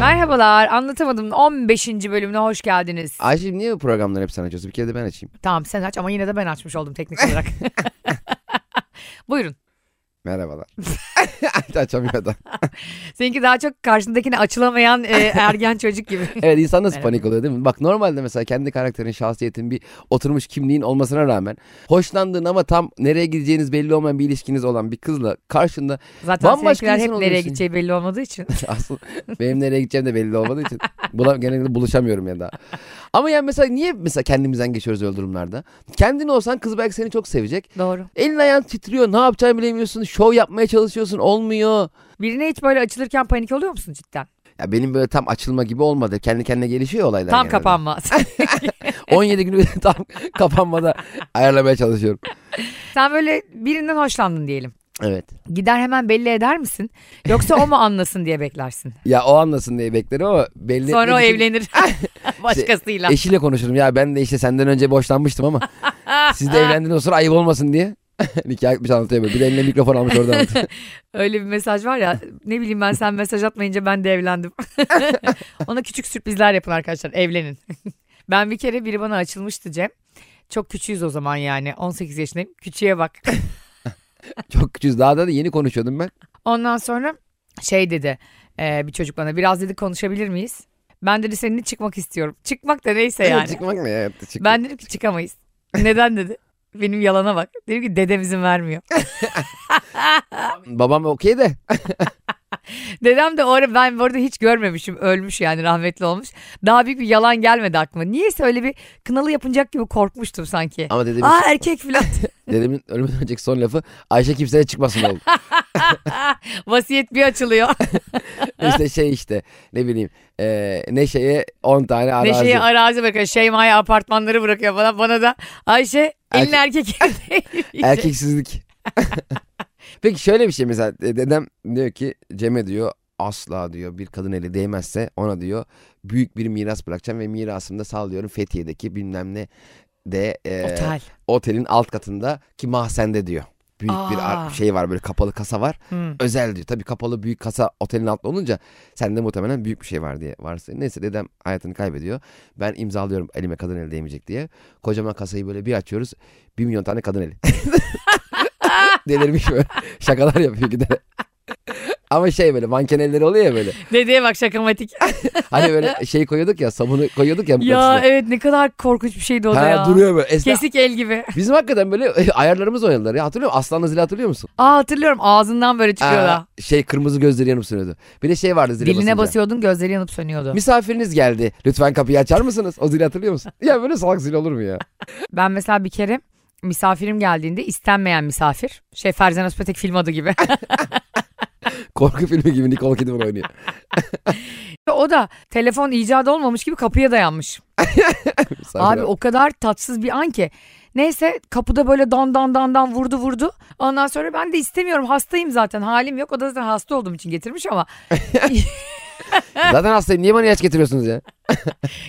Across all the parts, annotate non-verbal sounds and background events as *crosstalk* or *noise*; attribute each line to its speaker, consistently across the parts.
Speaker 1: Merhabalar anlatamadım 15. bölümüne hoş geldiniz.
Speaker 2: Ayşe'cim niye bu programları hep sen açıyorsun? Bir kere de ben açayım.
Speaker 1: Tamam sen aç ama yine de ben açmış oldum teknik olarak. *laughs* Buyurun.
Speaker 2: Merhabalar. *laughs* Açamıyor da.
Speaker 1: Seninki daha çok karşındakine açılamayan *laughs* e, ergen çocuk gibi.
Speaker 2: Evet insan nasıl
Speaker 1: Merhaba.
Speaker 2: panik oluyor değil mi? Bak normalde mesela kendi karakterin, şahsiyetin, bir oturmuş kimliğin olmasına rağmen hoşlandığın ama tam nereye gideceğiniz belli olmayan bir ilişkiniz olan bir kızla karşında *laughs*
Speaker 1: Zaten
Speaker 2: Bambaşka
Speaker 1: seninkiler hep
Speaker 2: insan
Speaker 1: nereye
Speaker 2: oluyorsun.
Speaker 1: gideceği belli olmadığı için.
Speaker 2: aslında benim nereye gideceğim de belli olmadığı için buna genellikle buluşamıyorum ya daha. Ama yani mesela niye mesela kendimizden geçiyoruz öyle durumlarda? Kendin olsan kız belki seni çok
Speaker 1: *laughs*
Speaker 2: sevecek.
Speaker 1: Doğru.
Speaker 2: Elin ayağın titriyor. Ne yapacağını bilemiyorsun. Şov yapmaya çalışıyorsun. Olmuyor.
Speaker 1: Birine hiç böyle açılırken panik oluyor musun cidden?
Speaker 2: Ya benim böyle tam açılma gibi olmadı. Kendi kendine gelişiyor olaylar.
Speaker 1: Tam
Speaker 2: genelde.
Speaker 1: kapanma. *laughs*
Speaker 2: 17 günü *laughs* tam kapanmada ayarlamaya çalışıyorum.
Speaker 1: sen böyle birinden hoşlandın diyelim.
Speaker 2: Evet.
Speaker 1: Gider hemen belli eder misin? Yoksa o mu anlasın diye beklersin.
Speaker 2: Ya o anlasın diye beklerim ama belli
Speaker 1: Sonra o
Speaker 2: etmek
Speaker 1: *laughs*
Speaker 2: için
Speaker 1: evlenir. Şey, Başkasıyla.
Speaker 2: Eşiyle konuşurum. Ya ben de işte senden önce boşlanmıştım
Speaker 1: *laughs*
Speaker 2: ama siz de evlendiğiniz o sıra ayıp olmasın diye. *laughs* Nikah etmiş anlatıyor böyle. Bir de eline mikrofon almış
Speaker 1: *laughs*
Speaker 2: oradan anlatıyor.
Speaker 1: Öyle bir mesaj var ya ne bileyim ben sen mesaj atmayınca ben de
Speaker 2: *laughs*
Speaker 1: evlendim. Ona küçük sürprizler yapın arkadaşlar evlenin. *laughs* ben bir kere biri bana açılmıştı Cem. Çok küçüğüz o zaman yani 18 yaşındayım küçüğe bak.
Speaker 2: Çok küçüğüz. Daha da yeni konuşuyordum ben.
Speaker 1: Ondan sonra şey dedi e, bir çocuk bana biraz dedi konuşabilir miyiz? Ben dedi seninle çıkmak istiyorum. Çıkmak da neyse yani.
Speaker 2: *laughs* Çıkmak ne? Evet, çık-
Speaker 1: Ben dedim ki çıkamayız. Neden dedi. Benim yalana bak. Dedim ki dedem izin vermiyor.
Speaker 2: Babam okey de.
Speaker 1: Dedem de o ara ben bu arada hiç görmemişim. Ölmüş yani rahmetli olmuş. Daha büyük bir yalan gelmedi aklıma. Niyeyse öyle bir kınalı yapınacak gibi korkmuştum sanki.
Speaker 2: Ama dedemin,
Speaker 1: Aa erkek filan. *laughs*
Speaker 2: dedemin ölümden önceki son lafı Ayşe kimseye
Speaker 1: *laughs*
Speaker 2: çıkmasın oğlum.
Speaker 1: Vasiyet bir açılıyor. *laughs*
Speaker 2: işte şey işte ne bileyim e, Neşe'ye 10 tane arazi.
Speaker 1: Neşe'yi arazi bırakıyor. Şeyma'ya apartmanları bırakıyor falan. Bana da Ayşe elin erkek.
Speaker 2: *laughs*
Speaker 1: *laughs*
Speaker 2: Erkeksizlik. Peki şöyle bir şey mesela e, dedem diyor ki Cem'e diyor asla diyor bir kadın eli değmezse ona diyor büyük bir miras bırakacağım ve mirasımda sağlıyorum Fethiye'deki bilmem ne de e,
Speaker 1: Otel.
Speaker 2: otelin alt katında ki mahzende diyor. Büyük bir ar-
Speaker 1: Aa.
Speaker 2: şey var böyle kapalı kasa var.
Speaker 1: Hmm.
Speaker 2: Özel diyor. Tabii kapalı büyük kasa otelin altında olunca sende muhtemelen büyük bir şey var diye varsa. Neyse dedem hayatını kaybediyor. Ben imzalıyorum elime kadın eli değmeyecek diye. Kocaman kasayı böyle bir açıyoruz. Bir milyon tane kadın eli. *laughs* Delirmiş böyle. Şakalar yapıyor giderek. Ama şey böyle manken elleri oluyor ya böyle.
Speaker 1: Dedeye bak şakamatik.
Speaker 2: Hani böyle şey koyuyorduk ya sabunu koyuyorduk ya.
Speaker 1: ya
Speaker 2: kapısına.
Speaker 1: evet ne kadar korkunç bir şeydi o da
Speaker 2: ha,
Speaker 1: ya.
Speaker 2: duruyor böyle. Esna-
Speaker 1: Kesik el gibi.
Speaker 2: Bizim hakikaten böyle e, ayarlarımız oynadılar ya. Hatırlıyor musun? Aslanla zili hatırlıyor musun?
Speaker 1: Aa hatırlıyorum ağzından böyle çıkıyor da.
Speaker 2: Aa, şey kırmızı gözleri yanıp sönüyordu. Bir de şey vardı zile
Speaker 1: Diline
Speaker 2: basınca.
Speaker 1: basıyordun gözleri yanıp sönüyordu.
Speaker 2: *laughs* Misafiriniz geldi. Lütfen kapıyı açar mısınız? O zili hatırlıyor musun? Ya böyle salak zil olur mu ya? *laughs*
Speaker 1: Ben mesela bir kere misafirim geldiğinde istenmeyen misafir. Şey Ferzan Özpetek film adı gibi. *laughs*
Speaker 2: Korku filmi gibi Nicole
Speaker 1: *laughs*
Speaker 2: Kidman oynuyor.
Speaker 1: o da telefon icadı olmamış gibi kapıya dayanmış.
Speaker 2: Misafir
Speaker 1: Abi o kadar tatsız bir an ki. Neyse kapıda böyle dan dan dan dan vurdu vurdu. Ondan sonra ben de istemiyorum hastayım zaten halim yok. O da zaten hasta olduğum için getirmiş ama.
Speaker 2: Zaten hastayım. Niye bana ilaç getiriyorsunuz ya?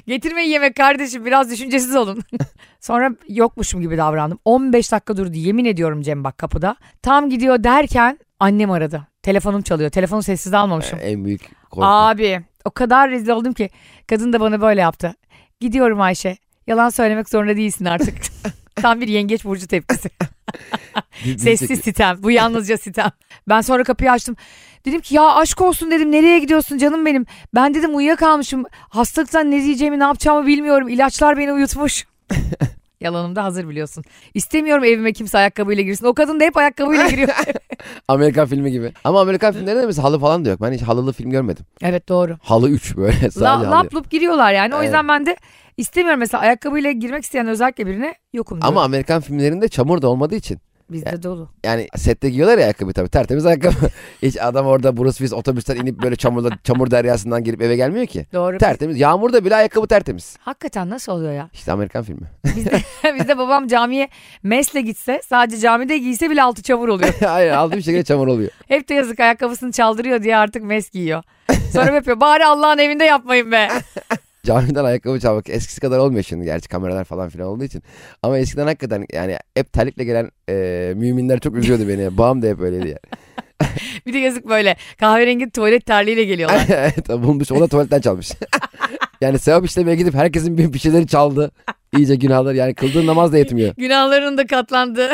Speaker 1: Getirmeyin yemek kardeşim biraz düşüncesiz olun. *laughs* Sonra yokmuşum gibi davrandım. 15 dakika durdu yemin ediyorum Cem bak kapıda. Tam gidiyor derken annem aradı. Telefonum çalıyor. Telefonu sessiz almamışım.
Speaker 2: En büyük korku.
Speaker 1: Abi o kadar rezil oldum ki kadın da bana böyle yaptı. Gidiyorum Ayşe. Yalan söylemek zorunda değilsin artık. Tam bir yengeç burcu tepkisi.
Speaker 2: Bir- bir
Speaker 1: Sessiz
Speaker 2: tek-
Speaker 1: sitem. Bu yalnızca sitem. Ben sonra kapıyı açtım. Dedim ki ya aşk olsun dedim. Nereye gidiyorsun canım benim? Ben dedim uyuyakalmışım. Hastalıktan ne diyeceğimi ne yapacağımı bilmiyorum. İlaçlar beni uyutmuş. Yalanım da hazır biliyorsun. İstemiyorum evime kimse ayakkabıyla girsin. O kadın da hep ayakkabıyla giriyor.
Speaker 2: Amerikan filmi gibi. Ama Amerikan filmlerinde de mesela halı falan da yok. Ben hiç halılı film görmedim.
Speaker 1: evet doğru.
Speaker 2: Halı 3 böyle *laughs* sadece
Speaker 1: La,
Speaker 2: halı.
Speaker 1: lap lup giriyorlar yani. O yüzden ben de istemiyorum mesela ayakkabıyla girmek isteyen özellikle birine yokum diyorum.
Speaker 2: Ama Amerikan filmlerinde çamur da olmadığı için.
Speaker 1: Bizde dolu.
Speaker 2: Yani sette giyiyorlar ya ayakkabı tabii tertemiz ayakkabı. *laughs* Hiç adam orada Bruce Willis otobüsten inip böyle çamurda, çamur deryasından girip eve gelmiyor ki.
Speaker 1: Doğru.
Speaker 2: Tertemiz. Yağmurda bile ayakkabı tertemiz.
Speaker 1: Hakikaten nasıl oluyor ya? *laughs*
Speaker 2: İşte Amerikan filmi. *laughs*
Speaker 1: Bizde, bizde babam camiye mesle gitse sadece camide giyse bile altı çamur
Speaker 2: *laughs*
Speaker 1: oluyor.
Speaker 2: Aynen aldığı bir şekilde çamur oluyor.
Speaker 1: Hep de yazık ayakkabısını çaldırıyor diye artık mes giyiyor. Sonra hep yapıyor bari Allah'ın evinde yapmayın be. *laughs*
Speaker 2: Camiden ayakkabı çalmak eskisi kadar olmuyor şimdi gerçi kameralar falan filan olduğu için. Ama eskiden *laughs* hakikaten yani hep terlikle gelen e, müminler çok üzüyordu beni. Babam da hep öyleydi yani.
Speaker 1: bir de yazık böyle kahverengi tuvalet terliğiyle
Speaker 2: *laughs*
Speaker 1: geliyorlar.
Speaker 2: evet bulmuş. O da tuvaletten çalmış. yani sevap işlemeye gidip herkesin bir, bir şeyleri çaldı. İyice günahlar yani kıldığın namaz
Speaker 1: *laughs*
Speaker 2: da yetmiyor.
Speaker 1: Günahların da katlandı.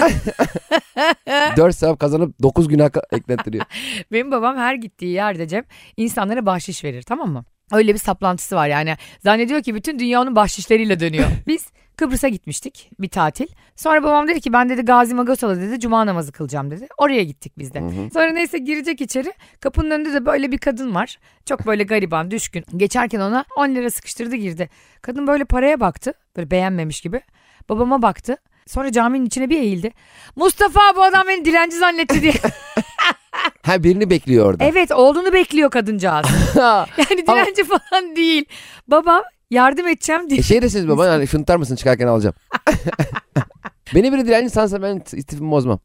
Speaker 2: 4 sevap kazanıp 9 günah ka- eklettiriyor.
Speaker 1: Benim babam her gittiği yerde Cem insanlara bahşiş verir tamam mı? Öyle bir saplantısı var yani. Zannediyor ki bütün dünya onun bahşişleriyle dönüyor. Biz Kıbrıs'a gitmiştik bir tatil. Sonra babam dedi ki ben dedi Gazi Magosal'a dedi cuma namazı kılacağım dedi. Oraya gittik biz de.
Speaker 2: Hı hı.
Speaker 1: Sonra neyse girecek içeri. Kapının önünde de böyle bir kadın var. Çok böyle gariban, düşkün. Geçerken ona 10 lira sıkıştırdı girdi. Kadın böyle paraya baktı. Böyle beğenmemiş gibi. Babama baktı. Sonra caminin içine bir eğildi. Mustafa bu adam beni dilenci zannetti diye.
Speaker 2: Ha birini bekliyor orada.
Speaker 1: evet oğlunu bekliyor
Speaker 2: *laughs*
Speaker 1: kadıncağız. Yani
Speaker 2: Ama-
Speaker 1: dilenci falan değil. Babam yardım edeceğim
Speaker 2: *laughs*
Speaker 1: diye.
Speaker 2: E şey desiniz baba hani şuntar mısın çıkarken alacağım. beni biri dilenci sansa ben t- istifimi bozmam.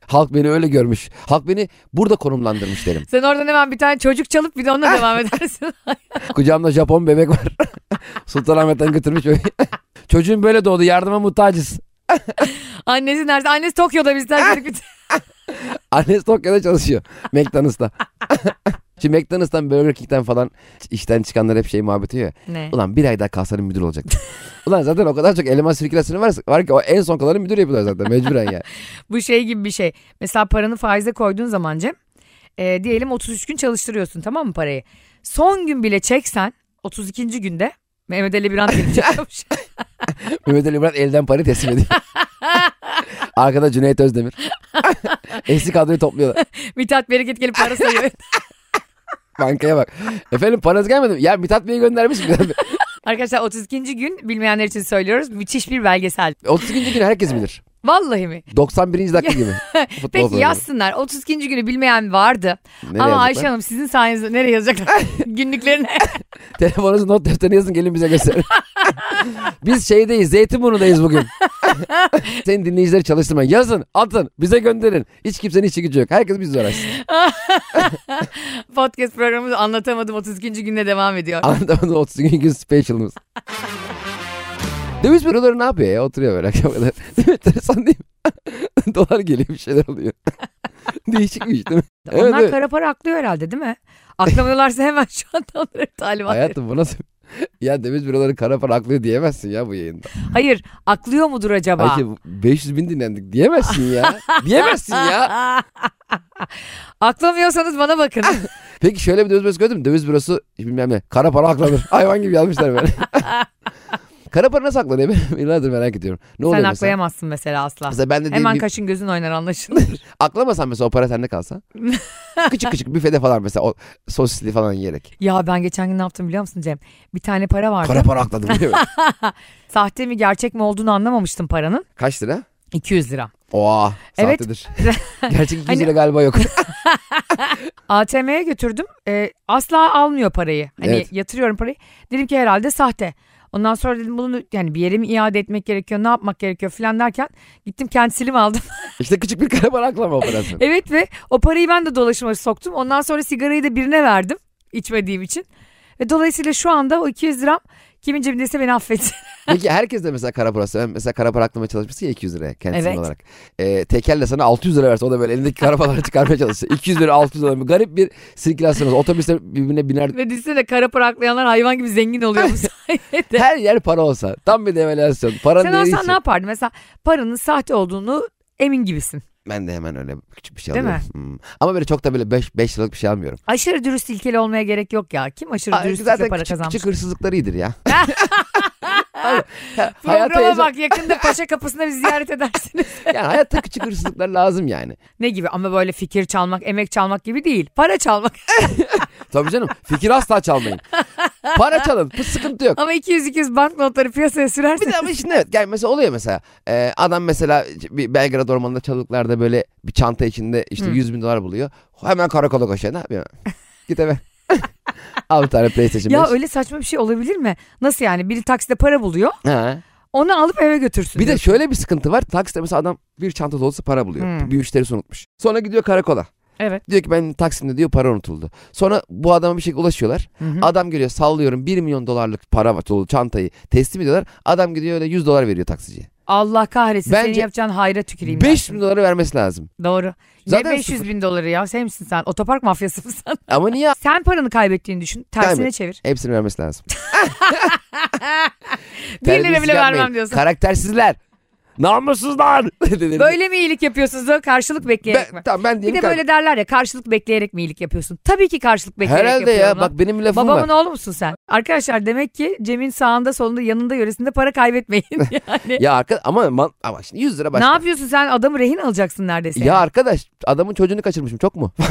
Speaker 2: *laughs* Halk beni öyle görmüş. Halk beni burada konumlandırmış derim.
Speaker 1: Sen oradan hemen bir tane çocuk çalıp bir de onunla
Speaker 2: *laughs*
Speaker 1: devam edersin.
Speaker 2: Kucağımda Japon bebek var. *laughs* Sultanahmet'ten götürmüş bebeği. *laughs* Çocuğum böyle doğdu yardıma muhtacız.
Speaker 1: Annesi nerede? Annesi Tokyo'da biz terk ettik.
Speaker 2: *laughs* Annesi Tokyo'da çalışıyor. *laughs* McDonald's'ta. Şimdi McDonald's'tan Burger King'den falan işten çıkanlar hep şey muhabbeti ya.
Speaker 1: Ne?
Speaker 2: Ulan bir ay daha kalsanın müdür olacak. Ulan zaten o kadar çok eleman sirkülasyonu var, var ki o en son kalanı müdür yapıyorlar zaten mecburen yani.
Speaker 1: Bu şey gibi bir şey. Mesela paranı faize koyduğun zaman Cem. e, diyelim 33 gün çalıştırıyorsun tamam mı parayı? Son gün bile çeksen 32. günde Mehmet Ali Birant gelip
Speaker 2: *laughs*
Speaker 1: çekiyormuş. *laughs*
Speaker 2: Mehmet Ali Murat elden para teslim ediyor. Arkada
Speaker 1: *laughs*
Speaker 2: Cüneyt Özdemir. Eski kadroyu topluyorlar.
Speaker 1: Mithat Bereket gelip para
Speaker 2: *laughs*
Speaker 1: sayıyor.
Speaker 2: Bankaya bak. Efendim paranız gelmedi mi? Ya Mithat Bey'i göndermiş *laughs* mi?
Speaker 1: Arkadaşlar 32. gün bilmeyenler için söylüyoruz. Müthiş bir belgesel.
Speaker 2: 32. günü herkes bilir.
Speaker 1: Vallahi mi?
Speaker 2: 91. dakika gibi. Futbol
Speaker 1: *laughs* Peki
Speaker 2: programı.
Speaker 1: yazsınlar. 32. günü bilmeyen vardı. Ama
Speaker 2: Nereye yazacaklar?
Speaker 1: Ayşe Hanım sizin sayenizde nereye
Speaker 2: *laughs*
Speaker 1: yazacaklar? Günlüklerine.
Speaker 2: Telefonunuzu not defterine yazın gelin bize gösterin. Biz şeydeyiz
Speaker 1: *laughs*
Speaker 2: Zeytinburnu'dayız bugün. Senin dinleyicileri çalıştırmayın. Yazın atın bize gönderin. Hiç kimsenin işi gücü yok. Herkes bizle uğraşsın.
Speaker 1: *laughs* Podcast programımız anlatamadım 32. günde devam ediyor.
Speaker 2: Anlatamadığım 32 gün specialımız. Döviz büroları ne yapıyor ya? Oturuyor böyle akşam kadar. *laughs* Değil mi? Enteresan değil mi? *laughs* Dolar geliyor bir şeyler oluyor. *laughs* Değişik bir iş değil mi? Evet,
Speaker 1: Onlar
Speaker 2: evet.
Speaker 1: kara para aklıyor herhalde değil mi? Aklamıyorlarsa hemen şu anda onlara talimat verin.
Speaker 2: Hayatım bu nasıl? Ya döviz büroları kara para aklıyor diyemezsin ya bu yayında.
Speaker 1: Hayır aklıyor mudur acaba?
Speaker 2: Ayşe 500 bin dinlendik diyemezsin ya. diyemezsin ya.
Speaker 1: *laughs* Aklamıyorsanız bana bakın.
Speaker 2: Ah, Peki şöyle bir döviz bürosu gördün mü? Döviz bürosu bilmem ne. Kara
Speaker 1: *laughs*
Speaker 2: para aklanır. Hayvan gibi yazmışlar böyle. kara para nasıl aklanıyor? Ben yıllardır merak ediyorum. Ne
Speaker 1: Sen
Speaker 2: oluyor mesela?
Speaker 1: aklayamazsın mesela asla.
Speaker 2: Mesela ben de diyeyim,
Speaker 1: Hemen
Speaker 2: bir-
Speaker 1: kaşın gözün oynar
Speaker 2: *laughs*
Speaker 1: anlaşılır.
Speaker 2: aklamasan mesela o para
Speaker 1: *laughs*
Speaker 2: sende kalsa. küçük küçük büfede falan mesela o sosisli falan yiyerek.
Speaker 1: ya ben geçen gün ne yaptım biliyor musun Cem? Bir tane para vardı.
Speaker 2: Kara para akladım.
Speaker 1: *laughs*
Speaker 2: değil mi?
Speaker 1: Sahte mi gerçek mi olduğunu anlamamıştım paranın.
Speaker 2: Kaç lira?
Speaker 1: 200 lira.
Speaker 2: Oha
Speaker 1: Evet. *laughs*
Speaker 2: sahtedir. Gerçek 200
Speaker 1: Hani-
Speaker 2: lira galiba yok. *laughs*
Speaker 1: ATM'ye götürdüm. Ee, asla almıyor parayı. Hani
Speaker 2: Evet.
Speaker 1: yatırıyorum parayı. Dedim ki herhalde sahte. Ondan sonra dedim bunu yani bir yere mi iade etmek gerekiyor, ne yapmak gerekiyor falan derken gittim kendi silim aldım. *laughs*
Speaker 2: işte küçük bir kara para aklama operasyonu.
Speaker 1: evet ve o parayı ben de dolaşıma soktum. Ondan sonra sigarayı da birine verdim içmediğim için. Ve dolayısıyla şu anda o 200 liram kimin cebindeyse beni affetsin. *laughs*
Speaker 2: Peki herkes de mesela kara parası. Ben mesela kara para aklamaya çalışmışsın ya 200 liraya kendisi
Speaker 1: Evet.
Speaker 2: olarak. Ee, tekerle sana 600 lira verse o da böyle elindeki
Speaker 1: *laughs*
Speaker 2: kara paraları çıkarmaya çalışsa. 200 lira 600 lira. Garip bir sirkülasyon. olsa. Otobüsler birbirine biner.
Speaker 1: ve düşünsene kara paraklayanlar hayvan gibi zengin oluyor
Speaker 2: *laughs*
Speaker 1: bu sayede.
Speaker 2: Her yer para olsa. Tam bir devalüasyon. Paranın
Speaker 1: Sen
Speaker 2: değeri
Speaker 1: olsan
Speaker 2: hiç
Speaker 1: ne
Speaker 2: yok.
Speaker 1: yapardın? Mesela paranın sahte olduğunu emin gibisin.
Speaker 2: Ben de hemen öyle küçük bir şey
Speaker 1: Değil mi?
Speaker 2: alıyorum. Hmm. Ama böyle çok da böyle 5 5 liralık bir şey almıyorum.
Speaker 1: Aşırı dürüst ilkeli olmaya gerek yok ya. Kim aşırı
Speaker 2: Aa,
Speaker 1: dürüstlükle
Speaker 2: zaten
Speaker 1: para
Speaker 2: küçük,
Speaker 1: kazanmış?
Speaker 2: küçük hırsızlıklar
Speaker 1: *laughs*
Speaker 2: iyidir ya. Ha, hayatta,
Speaker 1: Programa
Speaker 2: yaşa-
Speaker 1: bak yakında paşa kapısında bir ziyaret edersiniz.
Speaker 2: yani hayatta küçük hırsızlıklar lazım yani.
Speaker 1: *laughs* ne gibi ama böyle fikir çalmak, emek çalmak gibi değil. Para çalmak. *laughs*
Speaker 2: Tabii canım fikir asla çalmayın. Para çalın bu sıkıntı yok.
Speaker 1: ama 200-200 banknotları piyasaya
Speaker 2: Bir
Speaker 1: sürersin.
Speaker 2: de ama şimdi evet yani mesela oluyor mesela Ee, adam mesela bir Belgrad ormanında çalılıklarda böyle bir çanta içinde işte
Speaker 1: Hı.
Speaker 2: 100 bin dolar buluyor. Hemen karakola koşuyor ne yapıyor? Git eve. *laughs* Al bir tane PlayStation
Speaker 1: Ya
Speaker 2: 5.
Speaker 1: öyle saçma bir şey olabilir mi? Nasıl yani? Biri takside para buluyor.
Speaker 2: Ha.
Speaker 1: Onu alıp eve götürsün.
Speaker 2: Bir de
Speaker 1: diyor.
Speaker 2: şöyle bir sıkıntı var. Takside mesela adam bir çanta dolusu para buluyor.
Speaker 1: Hı.
Speaker 2: Bir müşterisi unutmuş. Sonra gidiyor karakola.
Speaker 1: Evet.
Speaker 2: Diyor ki ben Taksim'de diyor para unutuldu. Sonra bu adama bir şekilde ulaşıyorlar.
Speaker 1: Hı hı.
Speaker 2: Adam geliyor sallıyorum 1 milyon dolarlık para var dolu çantayı teslim ediyorlar. Adam gidiyor öyle 100 dolar veriyor taksiciye.
Speaker 1: Allah kahretsin senin
Speaker 2: Bence
Speaker 1: yapacağın hayra tüküreyim. ben
Speaker 2: 5
Speaker 1: şimdi.
Speaker 2: bin doları vermesi lazım.
Speaker 1: Doğru.
Speaker 2: Zaten
Speaker 1: ne 500 bin doları ya? Sen misin sen? Otopark mafyası mısın?
Speaker 2: Ama niye
Speaker 1: *laughs* sen paranı kaybettiğini düşün. Tersine
Speaker 2: Kaybet.
Speaker 1: çevir.
Speaker 2: hepsini
Speaker 1: *laughs*
Speaker 2: vermesi lazım?
Speaker 1: 1 lira
Speaker 2: Terbiyesiz
Speaker 1: bile
Speaker 2: yapmayın.
Speaker 1: vermem diyorsun.
Speaker 2: Karaktersizler. Namussuzlar. *laughs* Dedim.
Speaker 1: Böyle mi iyilik yapıyorsunuz da karşılık bekleyerek
Speaker 2: ben,
Speaker 1: mi?
Speaker 2: tamam ben
Speaker 1: Bir
Speaker 2: diyelim
Speaker 1: de
Speaker 2: ki-
Speaker 1: böyle derler ya karşılık bekleyerek mi iyilik yapıyorsun? Tabii ki karşılık bekleyerek
Speaker 2: Herhalde
Speaker 1: yapıyorum
Speaker 2: ya
Speaker 1: lan.
Speaker 2: bak benim bir lafım
Speaker 1: Babamın
Speaker 2: var.
Speaker 1: oğlu musun sen? Arkadaşlar demek ki Cem'in sağında solunda yanında yöresinde para kaybetmeyin. Yani.
Speaker 2: Ya arkadaş ama, man- ama şimdi 100
Speaker 1: *laughs*
Speaker 2: lira
Speaker 1: ne
Speaker 2: başka.
Speaker 1: yapıyorsun sen adamı rehin alacaksın neredeyse.
Speaker 2: Ya arkadaş adamın çocuğunu kaçırmışım çok mu? *laughs*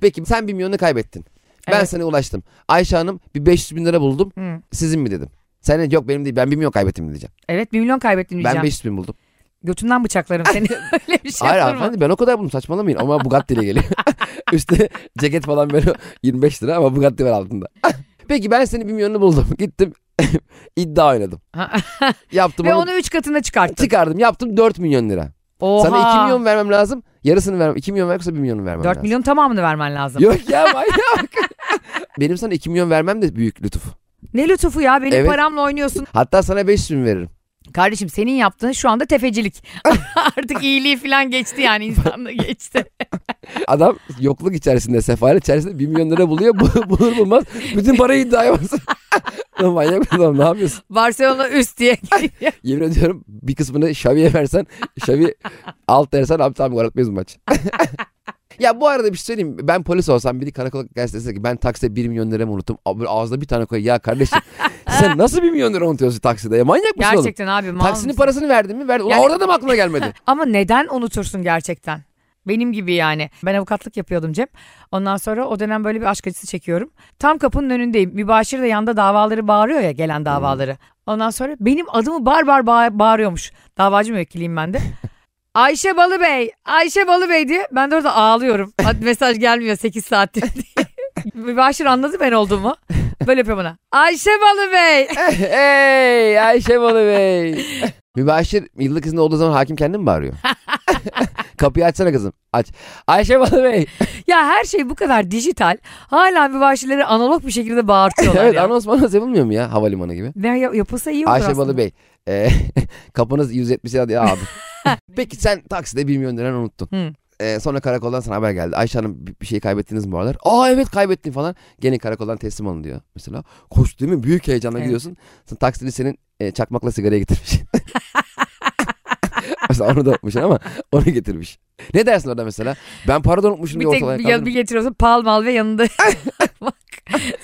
Speaker 2: Peki sen bir milyonu kaybettin. Ben
Speaker 1: Evet.
Speaker 2: sana ulaştım. Ayşe Hanım bir 500 bin lira buldum.
Speaker 1: Hı.
Speaker 2: Sizin mi dedim. Sen de yok benim değil ben bir milyon kaybettim diyeceğim.
Speaker 1: Evet bir milyon kaybettin
Speaker 2: Ben
Speaker 1: diyeceğim.
Speaker 2: 500 bin buldum.
Speaker 1: Götünden bıçaklarım
Speaker 2: *laughs*
Speaker 1: seni. *laughs* Öyle bir şey
Speaker 2: Hayır
Speaker 1: olur mu?
Speaker 2: hanımefendi ben o kadar buldum saçmalamayın ama Bugatti
Speaker 1: *laughs*
Speaker 2: ile geliyor. Üstüne ceket falan böyle 25 lira ama Bugatti
Speaker 1: *laughs*
Speaker 2: var altında. Peki ben senin bir milyonunu buldum. *laughs* Gittim iddia oynadım.
Speaker 1: Ha.
Speaker 2: Yaptım
Speaker 1: Ve
Speaker 2: onu,
Speaker 1: onu üç katına çıkarttın.
Speaker 2: çıkardım yaptım 4 milyon lira.
Speaker 1: Oha.
Speaker 2: Sana 2 milyon vermem lazım. Yarısını vermem. 2 milyon vermekse 1 milyonu vermem
Speaker 1: 4
Speaker 2: lazım.
Speaker 1: milyon tamamını vermen lazım.
Speaker 2: Yok ya manyak. *laughs* Benim sana 2 milyon vermem de büyük lütuf.
Speaker 1: Ne lütufu ya benim
Speaker 2: Evet.
Speaker 1: paramla oynuyorsun.
Speaker 2: Hatta sana 500 bin veririm.
Speaker 1: Kardeşim senin yaptığın şu anda
Speaker 2: *laughs*
Speaker 1: tefecilik. *laughs* Artık iyiliği falan geçti yani insanla
Speaker 2: *laughs*
Speaker 1: geçti.
Speaker 2: Adam yokluk içerisinde, sefalet içerisinde 1 milyon lira buluyor. Bu- *laughs* Bulur bulmaz bütün parayı iddiaya basıyor. *laughs* Lan manyak bir adam ne yapıyorsun?
Speaker 1: Barcelona üst
Speaker 2: *laughs*
Speaker 1: diye geliyor.
Speaker 2: Yemin ediyorum bir kısmını Xavi'ye versen, Xavi alt dersen abi tamam gol atmayız bu maç. *laughs* ya bu arada bir şey söyleyeyim. Ben polis olsam biri karakola gelse dese ki ben takside 1 milyon liramı unuttum. Abi Böyle ağzına bir tane koy. Ya kardeşim sen nasıl 1 milyon lira unutuyorsun takside? Ya manyak mısın oğlum?
Speaker 1: Gerçekten abi mal
Speaker 2: Taksinin
Speaker 1: mısın?
Speaker 2: parasını verdin mi? Verdin. Ulan
Speaker 1: Yani-
Speaker 2: orada da mı aklına gelmedi?
Speaker 1: Ama neden unutursun gerçekten? Benim gibi yani. Ben avukatlık yapıyordum Cem. Ondan sonra o dönem böyle bir aşk acısı çekiyorum. Tam kapının önündeyim. Mübaşir de yanda davaları bağırıyor ya gelen davaları. Ondan sonra benim adımı bar bar bağ- bağırıyormuş. Davacı müvekkiliyim ben de. Ayşe Balı Bey, Ayşe Balı Bey diye. Ben de orada ağlıyorum. Ad- Mesaj gelmiyor 8 saattir diye. Mübaşir anladı ben olduğumu. Böyle yapıyor bana. Ayşe Balı Bey.
Speaker 2: *laughs* hey Ayşe Balı Bey. *laughs* Mübaşir yıllık izinde olduğu zaman hakim kendi mi *laughs* bağırıyor? Kapıyı açsana kızım. Aç. Ayşe Balı Bey.
Speaker 1: Ya her şey bu kadar dijital. Hala mübaşirleri analog bir şekilde bağırtıyorlar
Speaker 2: evet
Speaker 1: ya.
Speaker 2: anons manons yapılmıyor mu ya havalimanı gibi?
Speaker 1: Ne ya- yapılsa iyi olur
Speaker 2: Ayşe
Speaker 1: aslında.
Speaker 2: Balı Bey. E, *laughs* kapınız 170
Speaker 1: *laughs*
Speaker 2: lira diyor abi. Peki sen takside 1 milyon liranı unuttun.
Speaker 1: Hı.
Speaker 2: E, sonra karakoldan sana haber geldi. Ayşe Hanım bir bir şey kaybettiniz mi bu aralar? Aa evet kaybettim falan. Gelin karakoldan teslim alın diyor mesela. Koş değil mi? Büyük heyecanla
Speaker 1: Evet.
Speaker 2: gidiyorsun. Sen taksidi senin e, çakmakla sigaraya getirmiş. *laughs* mesela onu da unutmuşsun ama onu getirmiş. Ne dersin orada mesela? Ben para da unutmuşum
Speaker 1: Bir
Speaker 2: diye
Speaker 1: tek
Speaker 2: ortalığa
Speaker 1: bir, ya- bir
Speaker 2: kaldırırım.
Speaker 1: getiriyorsun pal mal ve yanında. Bak.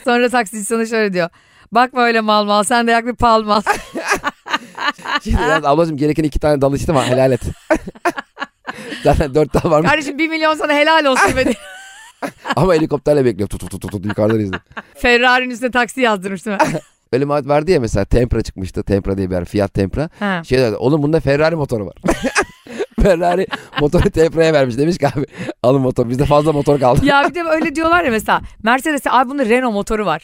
Speaker 1: Sonra taksici sana şöyle diyor. Bakma öyle mal mal sen de yak bir pal
Speaker 2: *laughs*
Speaker 1: mal.
Speaker 2: *laughs* Şimdi biraz ablacığım gereken iki tane dal içtim ama helal et. *laughs* Zaten
Speaker 1: *laughs*
Speaker 2: dört tane varmış
Speaker 1: Kardeşim bir milyon sana helal olsun be diye.
Speaker 2: *laughs* ama helikopterle bekliyor. Tut tut tut tut, tut yukarıdan izliyor.
Speaker 1: Ferrari'nin üstüne taksi yazdırmıştım.
Speaker 2: *laughs* Öyle muhabbet vardı ya mesela Tempra çıkmıştı. Tempra diye bir yer. Fiat Tempra.
Speaker 1: Ha.
Speaker 2: Şey dedi, oğlum bunda Ferrari motoru var. *laughs* Ferrari motoru Tempra'ya vermiş. Demiş ki abi alın motor. Bizde fazla motor kaldı.
Speaker 1: Ya bir de öyle diyorlar ya mesela Mercedes'e abi bunda Renault motoru
Speaker 2: *laughs*
Speaker 1: var.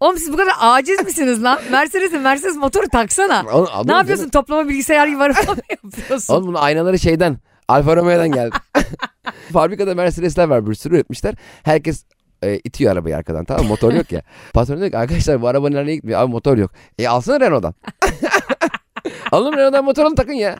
Speaker 1: Oğlum siz bu kadar aciz misiniz lan? Mercedes'in Mercedes motoru taksana.
Speaker 2: *laughs* Oğlum, alın
Speaker 1: ne
Speaker 2: bunu.
Speaker 1: yapıyorsun? Toplama bilgisayar gibi
Speaker 2: *laughs*
Speaker 1: araba mı yapıyorsun?
Speaker 2: Oğlum bunun aynaları şeyden. Alfa Romeo'dan geldi. *laughs* Fabrikada Mercedes'ler var. Bir sürü üretmişler. Herkes e, itiyor arabayı arkadan tamam mı? motor yok ya. Patron diyor ki arkadaşlar bu araba nereye gitmiyor abi motor yok. E alsana Renault'dan. *laughs* alın Renault'dan motorunu takın ya.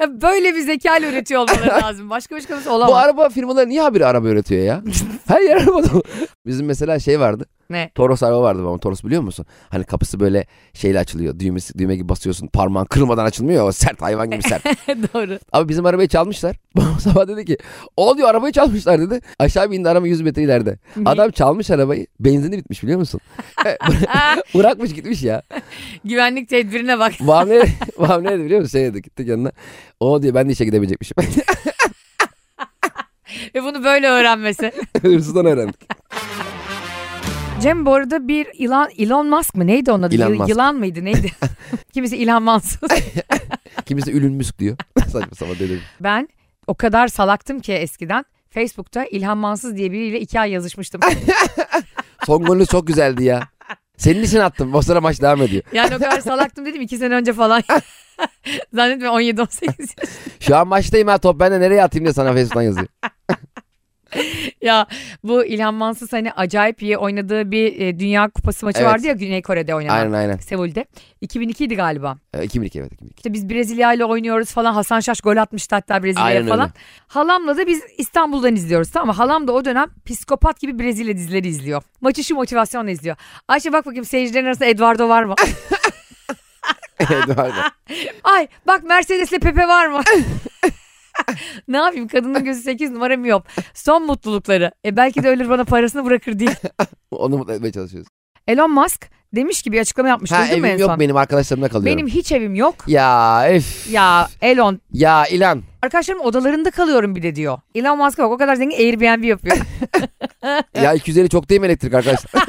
Speaker 1: Ya böyle bir zeka ile üretiyor olmaları
Speaker 2: *laughs*
Speaker 1: lazım. Başka başka
Speaker 2: Bu
Speaker 1: olamaz.
Speaker 2: araba firmaları niye habire araba üretiyor ya? Her yer araba dolu. Bizim mesela şey vardı.
Speaker 1: Ne?
Speaker 2: Toros araba vardı ama Toros biliyor musun? Hani kapısı böyle şeyle açılıyor. Düğmesi, düğme gibi basıyorsun. Parmağın kırılmadan açılmıyor ya. O sert hayvan gibi
Speaker 1: *laughs*
Speaker 2: sert.
Speaker 1: Doğru.
Speaker 2: Abi bizim arabayı çalmışlar. *laughs* Babam sabah dedi ki o diyor arabayı çalmışlar dedi. Aşağı bir indi araba 100 metre ileride. Adam çalmış arabayı. Benzini bitmiş biliyor musun? E, *laughs* Bırakmış gitmiş ya.
Speaker 1: Güvenlik tedbirine bak. *laughs*
Speaker 2: Babam ne, *laughs* babam ne dedi biliyor musun? Şey dedi gittik yanına. O diyor ben de işe gidemeyecekmişim.
Speaker 1: Ve bunu böyle öğrenmesi.
Speaker 2: *laughs* Hırsızdan öğrendik.
Speaker 1: Cem bu arada bir Elon, Elon Musk mı? Neydi onun adı?
Speaker 2: Elon
Speaker 1: Yı-
Speaker 2: Musk.
Speaker 1: Yılan mıydı?
Speaker 2: *laughs*
Speaker 1: Neydi? Kimisi Elon Mansur.
Speaker 2: Kimisi ülün müsk diyor. *laughs* Saçma sapan dedim.
Speaker 1: *laughs* Ben o kadar salaktım ki eskiden. Facebook'ta İlhan Mansız diye biriyle iki ay yazışmıştım.
Speaker 2: *laughs* Son golünüz çok güzeldi ya. Senin için attım. O sıra maç devam ediyor.
Speaker 1: Yani o kadar salaktım dedim iki sene önce falan. *laughs* Zannetme 17-18 yaş.
Speaker 2: Şu an maçtayım ha top ben de nereye atayım diye sana Facebook'tan yazıyor.
Speaker 1: *laughs* ya bu İlhan Mansız hani acayip iyi oynadığı bir e, Dünya Kupası maçı
Speaker 2: Evet.
Speaker 1: vardı ya Güney Kore'de oynanan.
Speaker 2: Aynen aynen.
Speaker 1: Seul'de. 2002 idi galiba.
Speaker 2: E, 2002 evet 2002.
Speaker 1: İşte biz Brezilya ile oynuyoruz falan. Hasan Şaş gol atmıştı hatta Brezilya'ya
Speaker 2: Aynen
Speaker 1: falan.
Speaker 2: öyle.
Speaker 1: Halamla da biz İstanbul'dan izliyoruz tamam mı? Halam da o dönem psikopat gibi Brezilya dizileri izliyor. Maçı şu motivasyonla izliyor. Ayşe bak bakayım seyircilerin arasında Eduardo var mı? *laughs* Ah.
Speaker 2: *laughs* Evet, aynen.
Speaker 1: Ay bak Mercedes'le Pepe var mı? *laughs* ne yapayım kadının gözü 8 numara mı yok? Son mutlulukları. E belki de ölür bana parasını bırakır diye.
Speaker 2: Onu mutlu etmeye çalışıyoruz.
Speaker 1: Elon Musk demiş ki bir açıklama yapmış.
Speaker 2: Ha
Speaker 1: Duydun mu en
Speaker 2: evim yok
Speaker 1: son?
Speaker 2: benim arkadaşlarımla kalıyorum.
Speaker 1: Benim hiç evim yok.
Speaker 2: Ya öf.
Speaker 1: Ya Elon
Speaker 2: Ya İlan.
Speaker 1: arkadaşlarım odalarında kalıyorum bir de diyor. Elon Musk'a bak o kadar zengin Airbnb yapıyor.
Speaker 2: Ya 250 çok değil mi elektrik arkadaşlar?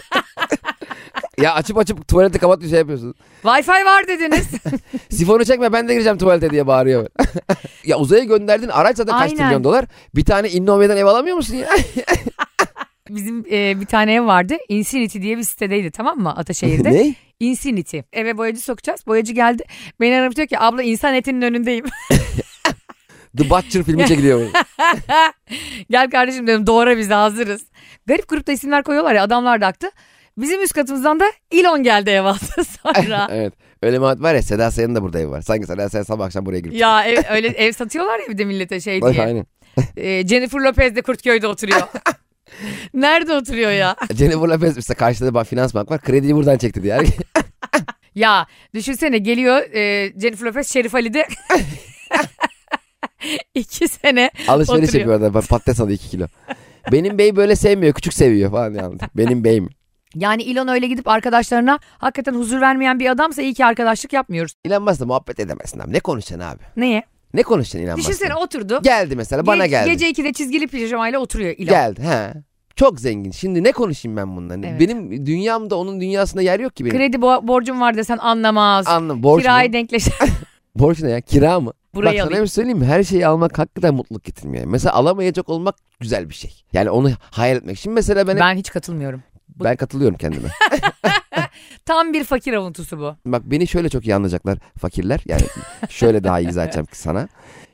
Speaker 2: *laughs* ya açıp açıp tuvaleti kapat bir şey yapıyorsun.
Speaker 1: Wi-Fi var dediniz. *laughs*
Speaker 2: Sifonu çekme ben de gireceğim tuvalete diye bağırıyor. *laughs* ya uzaya gönderdin araç zaten kaç
Speaker 1: Aynen.
Speaker 2: trilyon dolar. Bir tane Innova'dan ev alamıyor musun ya?
Speaker 1: Bizim e, bir tane ev vardı. Infinity diye bir sitedeydi tamam mı Ataşehir'de?
Speaker 2: *laughs* ne?
Speaker 1: Infinity. Eve boyacı sokacağız. Boyacı geldi. Beni aramış diyor ki abla insan etinin önündeyim. *laughs*
Speaker 2: The Butcher filmi çekiliyor.
Speaker 1: Gel kardeşim dedim doğra biz de hazırız. Garip grupta isimler koyuyorlar ya adamlar da aktı. Bizim üst katımızdan da Elon geldi ev aldı *laughs*
Speaker 2: *laughs*
Speaker 1: sonra.
Speaker 2: evet. Öyle muhabbet var ya Seda Sayan'ın da burada evi var. Sanki Seda Sayan sabah akşam buraya girip.
Speaker 1: ya ev- öyle ev satıyorlar ya bir de millete şey diye.
Speaker 2: Aynen.
Speaker 1: Ee, Jennifer Lopez de Kurtköy'de oturuyor. Nerede oturuyor ya?
Speaker 2: Jennifer Lopez işte karşıda bir finans bank var. Krediyi buradan
Speaker 1: *laughs*
Speaker 2: çekti diye.
Speaker 1: Ya düşünsene geliyor e, Jennifer Lopez Şerif
Speaker 2: *laughs*
Speaker 1: Ali'de. İki sene
Speaker 2: Alışveriş
Speaker 1: Oturuyor.
Speaker 2: yapıyor adam. Patates alıyor 2 kilo. Benim bey böyle sevmiyor. Küçük seviyor falan. Yani. Benim beyim.
Speaker 1: Yani Elon öyle gidip arkadaşlarına hakikaten huzur vermeyen bir adamsa iyi ki arkadaşlık yapmıyoruz.
Speaker 2: İlan Musk'la muhabbet edemezsin abi. Ne konuşacaksın abi?
Speaker 1: Neye?
Speaker 2: Ne konuşacaksın İlan Musk'la?
Speaker 1: Düşünsene oturdu.
Speaker 2: Geldi mesela bana
Speaker 1: Ge-
Speaker 2: geldi.
Speaker 1: Gece 2'de çizgili pijamayla oturuyor Elon.
Speaker 2: Geldi he. Çok zengin. Şimdi ne konuşayım ben bundan?
Speaker 1: Evet.
Speaker 2: Benim dünyamda onun dünyasında yer yok ki benim.
Speaker 1: Kredi bo- borcum var desen anlamaz.
Speaker 2: Anlam borç mu?
Speaker 1: Kirayı denkleş.
Speaker 2: Borç ne ya? Kira mı? Bak
Speaker 1: *laughs* Burayı
Speaker 2: sana
Speaker 1: alayım.
Speaker 2: bir şey söyleyeyim mi? Her şeyi almak hakikaten mutluluk getirmiyor. Mesela alamayacak olmak güzel bir şey. Yani onu hayal etmek. Şimdi mesela ben,
Speaker 1: Ben hiç katılmıyorum.
Speaker 2: ben
Speaker 1: *laughs*
Speaker 2: katılıyorum kendime.
Speaker 1: Tam bir fakir avuntusu bu.
Speaker 2: Bak beni şöyle çok iyi anlayacaklar fakirler. Yani şöyle daha iyi izah edeceğim ki sana.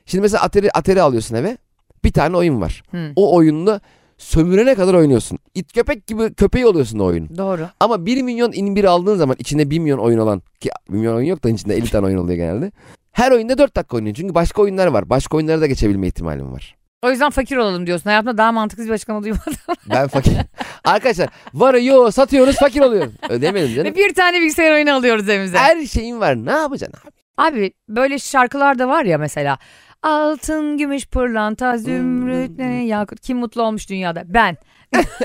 Speaker 2: Şimdi mesela Atari, Atari alıyorsun eve. Bir tane oyun var.
Speaker 1: Hı.
Speaker 2: O oyunla sömürene kadar oynuyorsun. İt köpek gibi köpeği oluyorsun o oyunun.
Speaker 1: Doğru.
Speaker 2: Ama 1 milyon in bir aldığın zaman içinde 1 milyon oyun olan ki 1 milyon oyun yok da içinde 50 tane oyun oluyor genelde. Her oyunda 4 dakika oynuyorsun çünkü başka oyunlar var. Başka oyunlara da geçebilme ihtimalim var.
Speaker 1: O yüzden fakir olalım diyorsun. Hayatımda daha mantıksız bir açıklama duymadım.
Speaker 2: Ben fakir. *laughs* Arkadaşlar var yo satıyoruz fakir oluyoruz. Ödemedim
Speaker 1: Ve
Speaker 2: canım.
Speaker 1: bir tane bilgisayar oyunu alıyoruz evimize.
Speaker 2: Her şeyin var ne yapacaksın abi?
Speaker 1: Abi böyle şarkılar da var ya mesela. Altın, gümüş, pırlanta, zümrüt,
Speaker 2: Hmm.
Speaker 1: ne, yakut. Kim mutlu olmuş dünyada?
Speaker 2: *laughs*
Speaker 1: Ben. *laughs*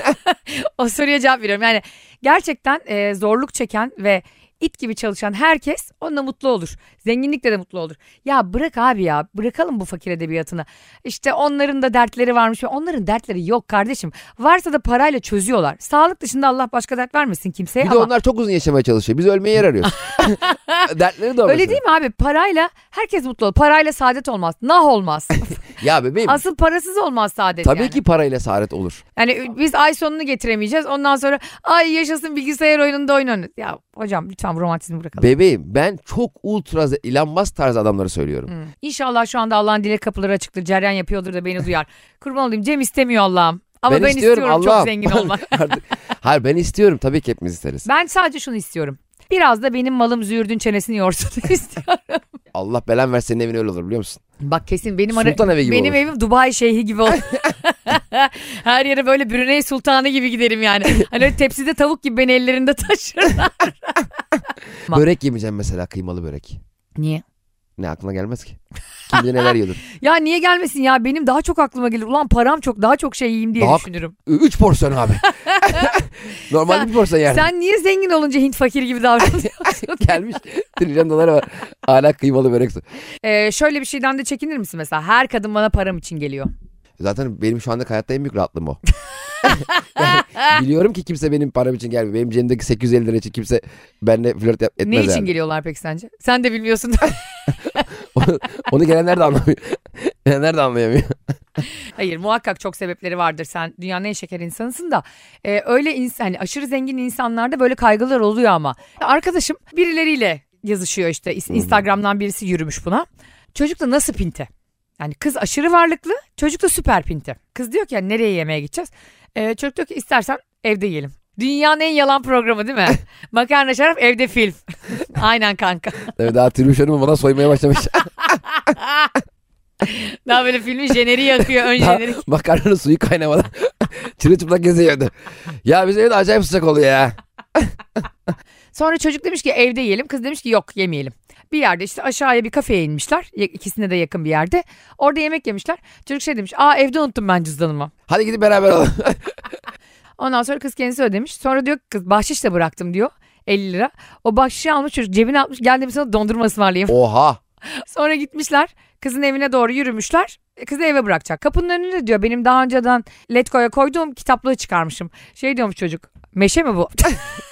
Speaker 1: o soruya cevap veriyorum. Yani gerçekten e, zorluk çeken ve it gibi çalışan herkes onunla mutlu olur. Zenginlikle de mutlu olur. Ya bırak abi ya bırakalım bu fakir edebiyatını. İşte onların da dertleri varmış. Onların dertleri yok kardeşim. Varsa da parayla çözüyorlar. Sağlık dışında Allah başka dert vermesin kimseye
Speaker 2: Bir de
Speaker 1: E, ama.
Speaker 2: onlar çok uzun yaşamaya çalışıyor. Biz ölmeye
Speaker 1: *laughs*
Speaker 2: yer arıyoruz. *laughs* Dertleri de orası.
Speaker 1: Öyle değil mi abi? Parayla herkes mutlu olur. Parayla saadet olmaz. Nah
Speaker 2: *laughs*
Speaker 1: olmaz.
Speaker 2: Ya bebeğim
Speaker 1: Asıl parasız olmaz saadet
Speaker 2: tabii
Speaker 1: yani.
Speaker 2: ki parayla saadet olur.
Speaker 1: Yani biz ay sonunu getiremeyeceğiz. Ondan sonra ay yaşasın bilgisayar oyununda oynanır. Ya hocam lütfen bu romantizmi bırakalım.
Speaker 2: Bebeğim ben çok ultra ze- Elon Musk tarzı adamları söylüyorum.
Speaker 1: Hı. İnşallah şu anda Allah'ın dile kapıları açıktır. Ceryan yapıyordur da beni
Speaker 2: *laughs*
Speaker 1: duyar. Kurban olayım Cem istemiyor Allah'ım. Ama ben, istiyorum, çok
Speaker 2: Allah'ım. *laughs*
Speaker 1: zengin olmak.
Speaker 2: Artık- Hayır ben istiyorum tabii ki hepimiz isteriz.
Speaker 1: Ben sadece şunu istiyorum. Biraz da benim malım züğürdün çenesini *laughs* yorsun istiyorum.
Speaker 2: Allah belen verse senin evin öyle olur biliyor musun?
Speaker 1: Bak kesin benim ara-
Speaker 2: Sultan evi gibi
Speaker 1: Benim
Speaker 2: olur.
Speaker 1: evim Dubai şeyhi gibi
Speaker 2: *laughs*
Speaker 1: olur. Her yere böyle Brunei Sultanı gibi giderim yani. Hani öyle tepside tavuk gibi beni ellerinde
Speaker 2: *laughs*
Speaker 1: taşırlar. Ma-
Speaker 2: Börek yemeyeceğim mesela kıymalı börek.
Speaker 1: Niye?
Speaker 2: Ne aklına gelmez ki? Kim bilir neler yiyordur.
Speaker 1: Ya niye gelmesin ya? Benim daha çok aklıma gelir. Ulan param çok daha çok şey yiyeyim diye
Speaker 2: Daha-
Speaker 1: düşünürüm.
Speaker 2: Ü- Üç
Speaker 1: *laughs*
Speaker 2: porsiyon abi. *laughs* Normalde bir porsiyon yani.
Speaker 1: Sen niye zengin olunca Hint fakir gibi davranıyorsun? *laughs*
Speaker 2: *laughs* Gelmiş trilyon dolara var. Hala kıymalı börek. sor-
Speaker 1: Ee, şöyle bir şeyden de çekinir misin mesela? Her kadın bana param için geliyor.
Speaker 2: Zaten benim şu anda hayatta en büyük rahatlığım o. *laughs* Yani biliyorum ki kimse benim param için gelmiyor. Benim cebimdeki 850 lira için kimse benimle flört yap- etmez
Speaker 1: ne için
Speaker 2: yani.
Speaker 1: geliyorlar peki sence? Sen de bilmiyorsun.
Speaker 2: onu, onu gelenler de anlamıyor. *laughs* gelenler de anlayamıyor.
Speaker 1: Hayır muhakkak çok sebepleri vardır. Sen dünyanın en şeker insanısın da e, öyle insan hani aşırı zengin insanlarda böyle kaygılar oluyor ama. Arkadaşım birileriyle yazışıyor işte İs- Instagram'dan birisi yürümüş buna. Çocuk da nasıl pinte? Yani kız aşırı varlıklı, çocuk da süper pinti. Kız diyor ki yani nereye yemeğe gideceğiz? Ee, çocuk diyor ki istersen evde yiyelim. Dünyanın en yalan programı değil mi? Makarna şarap evde film. *laughs* Aynen kanka.
Speaker 2: Tabii daha Tribüş Hanım bana
Speaker 1: *laughs*
Speaker 2: soymaya başlamış.
Speaker 1: Daha böyle filmin jeneriği yakıyor ön
Speaker 2: Daha-
Speaker 1: jenerik.
Speaker 2: Makarnanın suyu kaynamadan *laughs* çırılçıplak geziyordu. Ya bizim evde acayip sıcak oluyor ya.
Speaker 1: Sonra çocuk demiş ki evde yiyelim. Kız demiş ki yok yemeyelim. Bir yerde işte aşağıya bir kafeye inmişler. Ya- İkisine de yakın bir yerde. Orada yemek yemişler. Çocuk şey demiş. Aa evde unuttum ben cüzdanımı.
Speaker 2: Hadi gidip beraber olalım. *laughs*
Speaker 1: Ondan sonra kız kendisi ödemiş. Sonra diyor ki kız bahşiş de bıraktım diyor. 50 lira. O bahşişi almış çocuk cebine atmış. Gel demiş sana dondurma ısmarlayayım.
Speaker 2: Oha.
Speaker 1: Sonra gitmişler. Kızın evine doğru yürümüşler. E, Kızı eve bırakacak. Kapının önünde diyor benim daha önceden Letgo'ya koyduğum kitaplığı çıkarmışım. Şey diyormuş çocuk. Meşe mi bu?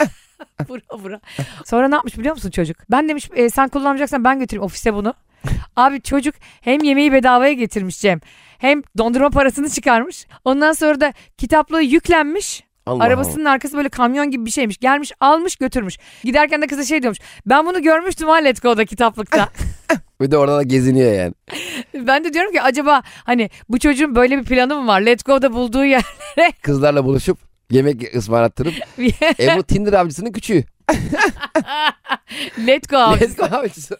Speaker 1: *laughs* bura bura. Sonra ne yapmış biliyor musun çocuk? Ben demiş "e, sen kullanmayacaksan ben götüreyim ofise bunu. Abi çocuk hem yemeği bedavaya getirmiş Cem. Hem dondurma parasını çıkarmış. Ondan sonra da kitaplığı yüklenmiş.
Speaker 2: Allah Allah.
Speaker 1: Arabasının arkası böyle kamyon gibi bir şeymiş. Gelmiş almış götürmüş. Giderken de kıza şey diyormuş. Ben bunu görmüştüm ha Letgo'da kitaplıkta.
Speaker 2: Bir de orada da geziniyor yani.
Speaker 1: Ben de diyorum ki acaba hani bu çocuğun böyle bir planı mı var? Let's Go'da bulduğu yer. *laughs*
Speaker 2: Kızlarla buluşup yemek ısmarlattırıp Ebru Tinder avcısının küçüğü.
Speaker 1: Let's Go abi.
Speaker 2: Let's go avcısı.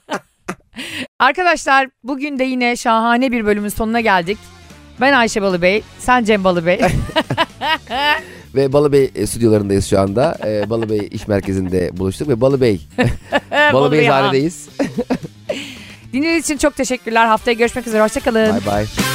Speaker 1: Arkadaşlar bugün de yine şahane bir bölümün sonuna geldik. Ben Ayşe Balıbey, sen Cem
Speaker 2: *laughs*
Speaker 1: Balıbey. Ee,
Speaker 2: Ve Balıbey e, stüdyolarındayız şu anda. E, Balıbey iş merkezinde buluştuk ve Balıbey. Balıbey
Speaker 1: Balıbey Han.
Speaker 2: zahiredeyiz.
Speaker 1: Dinlediğiniz için çok teşekkürler. Haftaya görüşmek üzere. Hoşçakalın.
Speaker 2: Bye bye.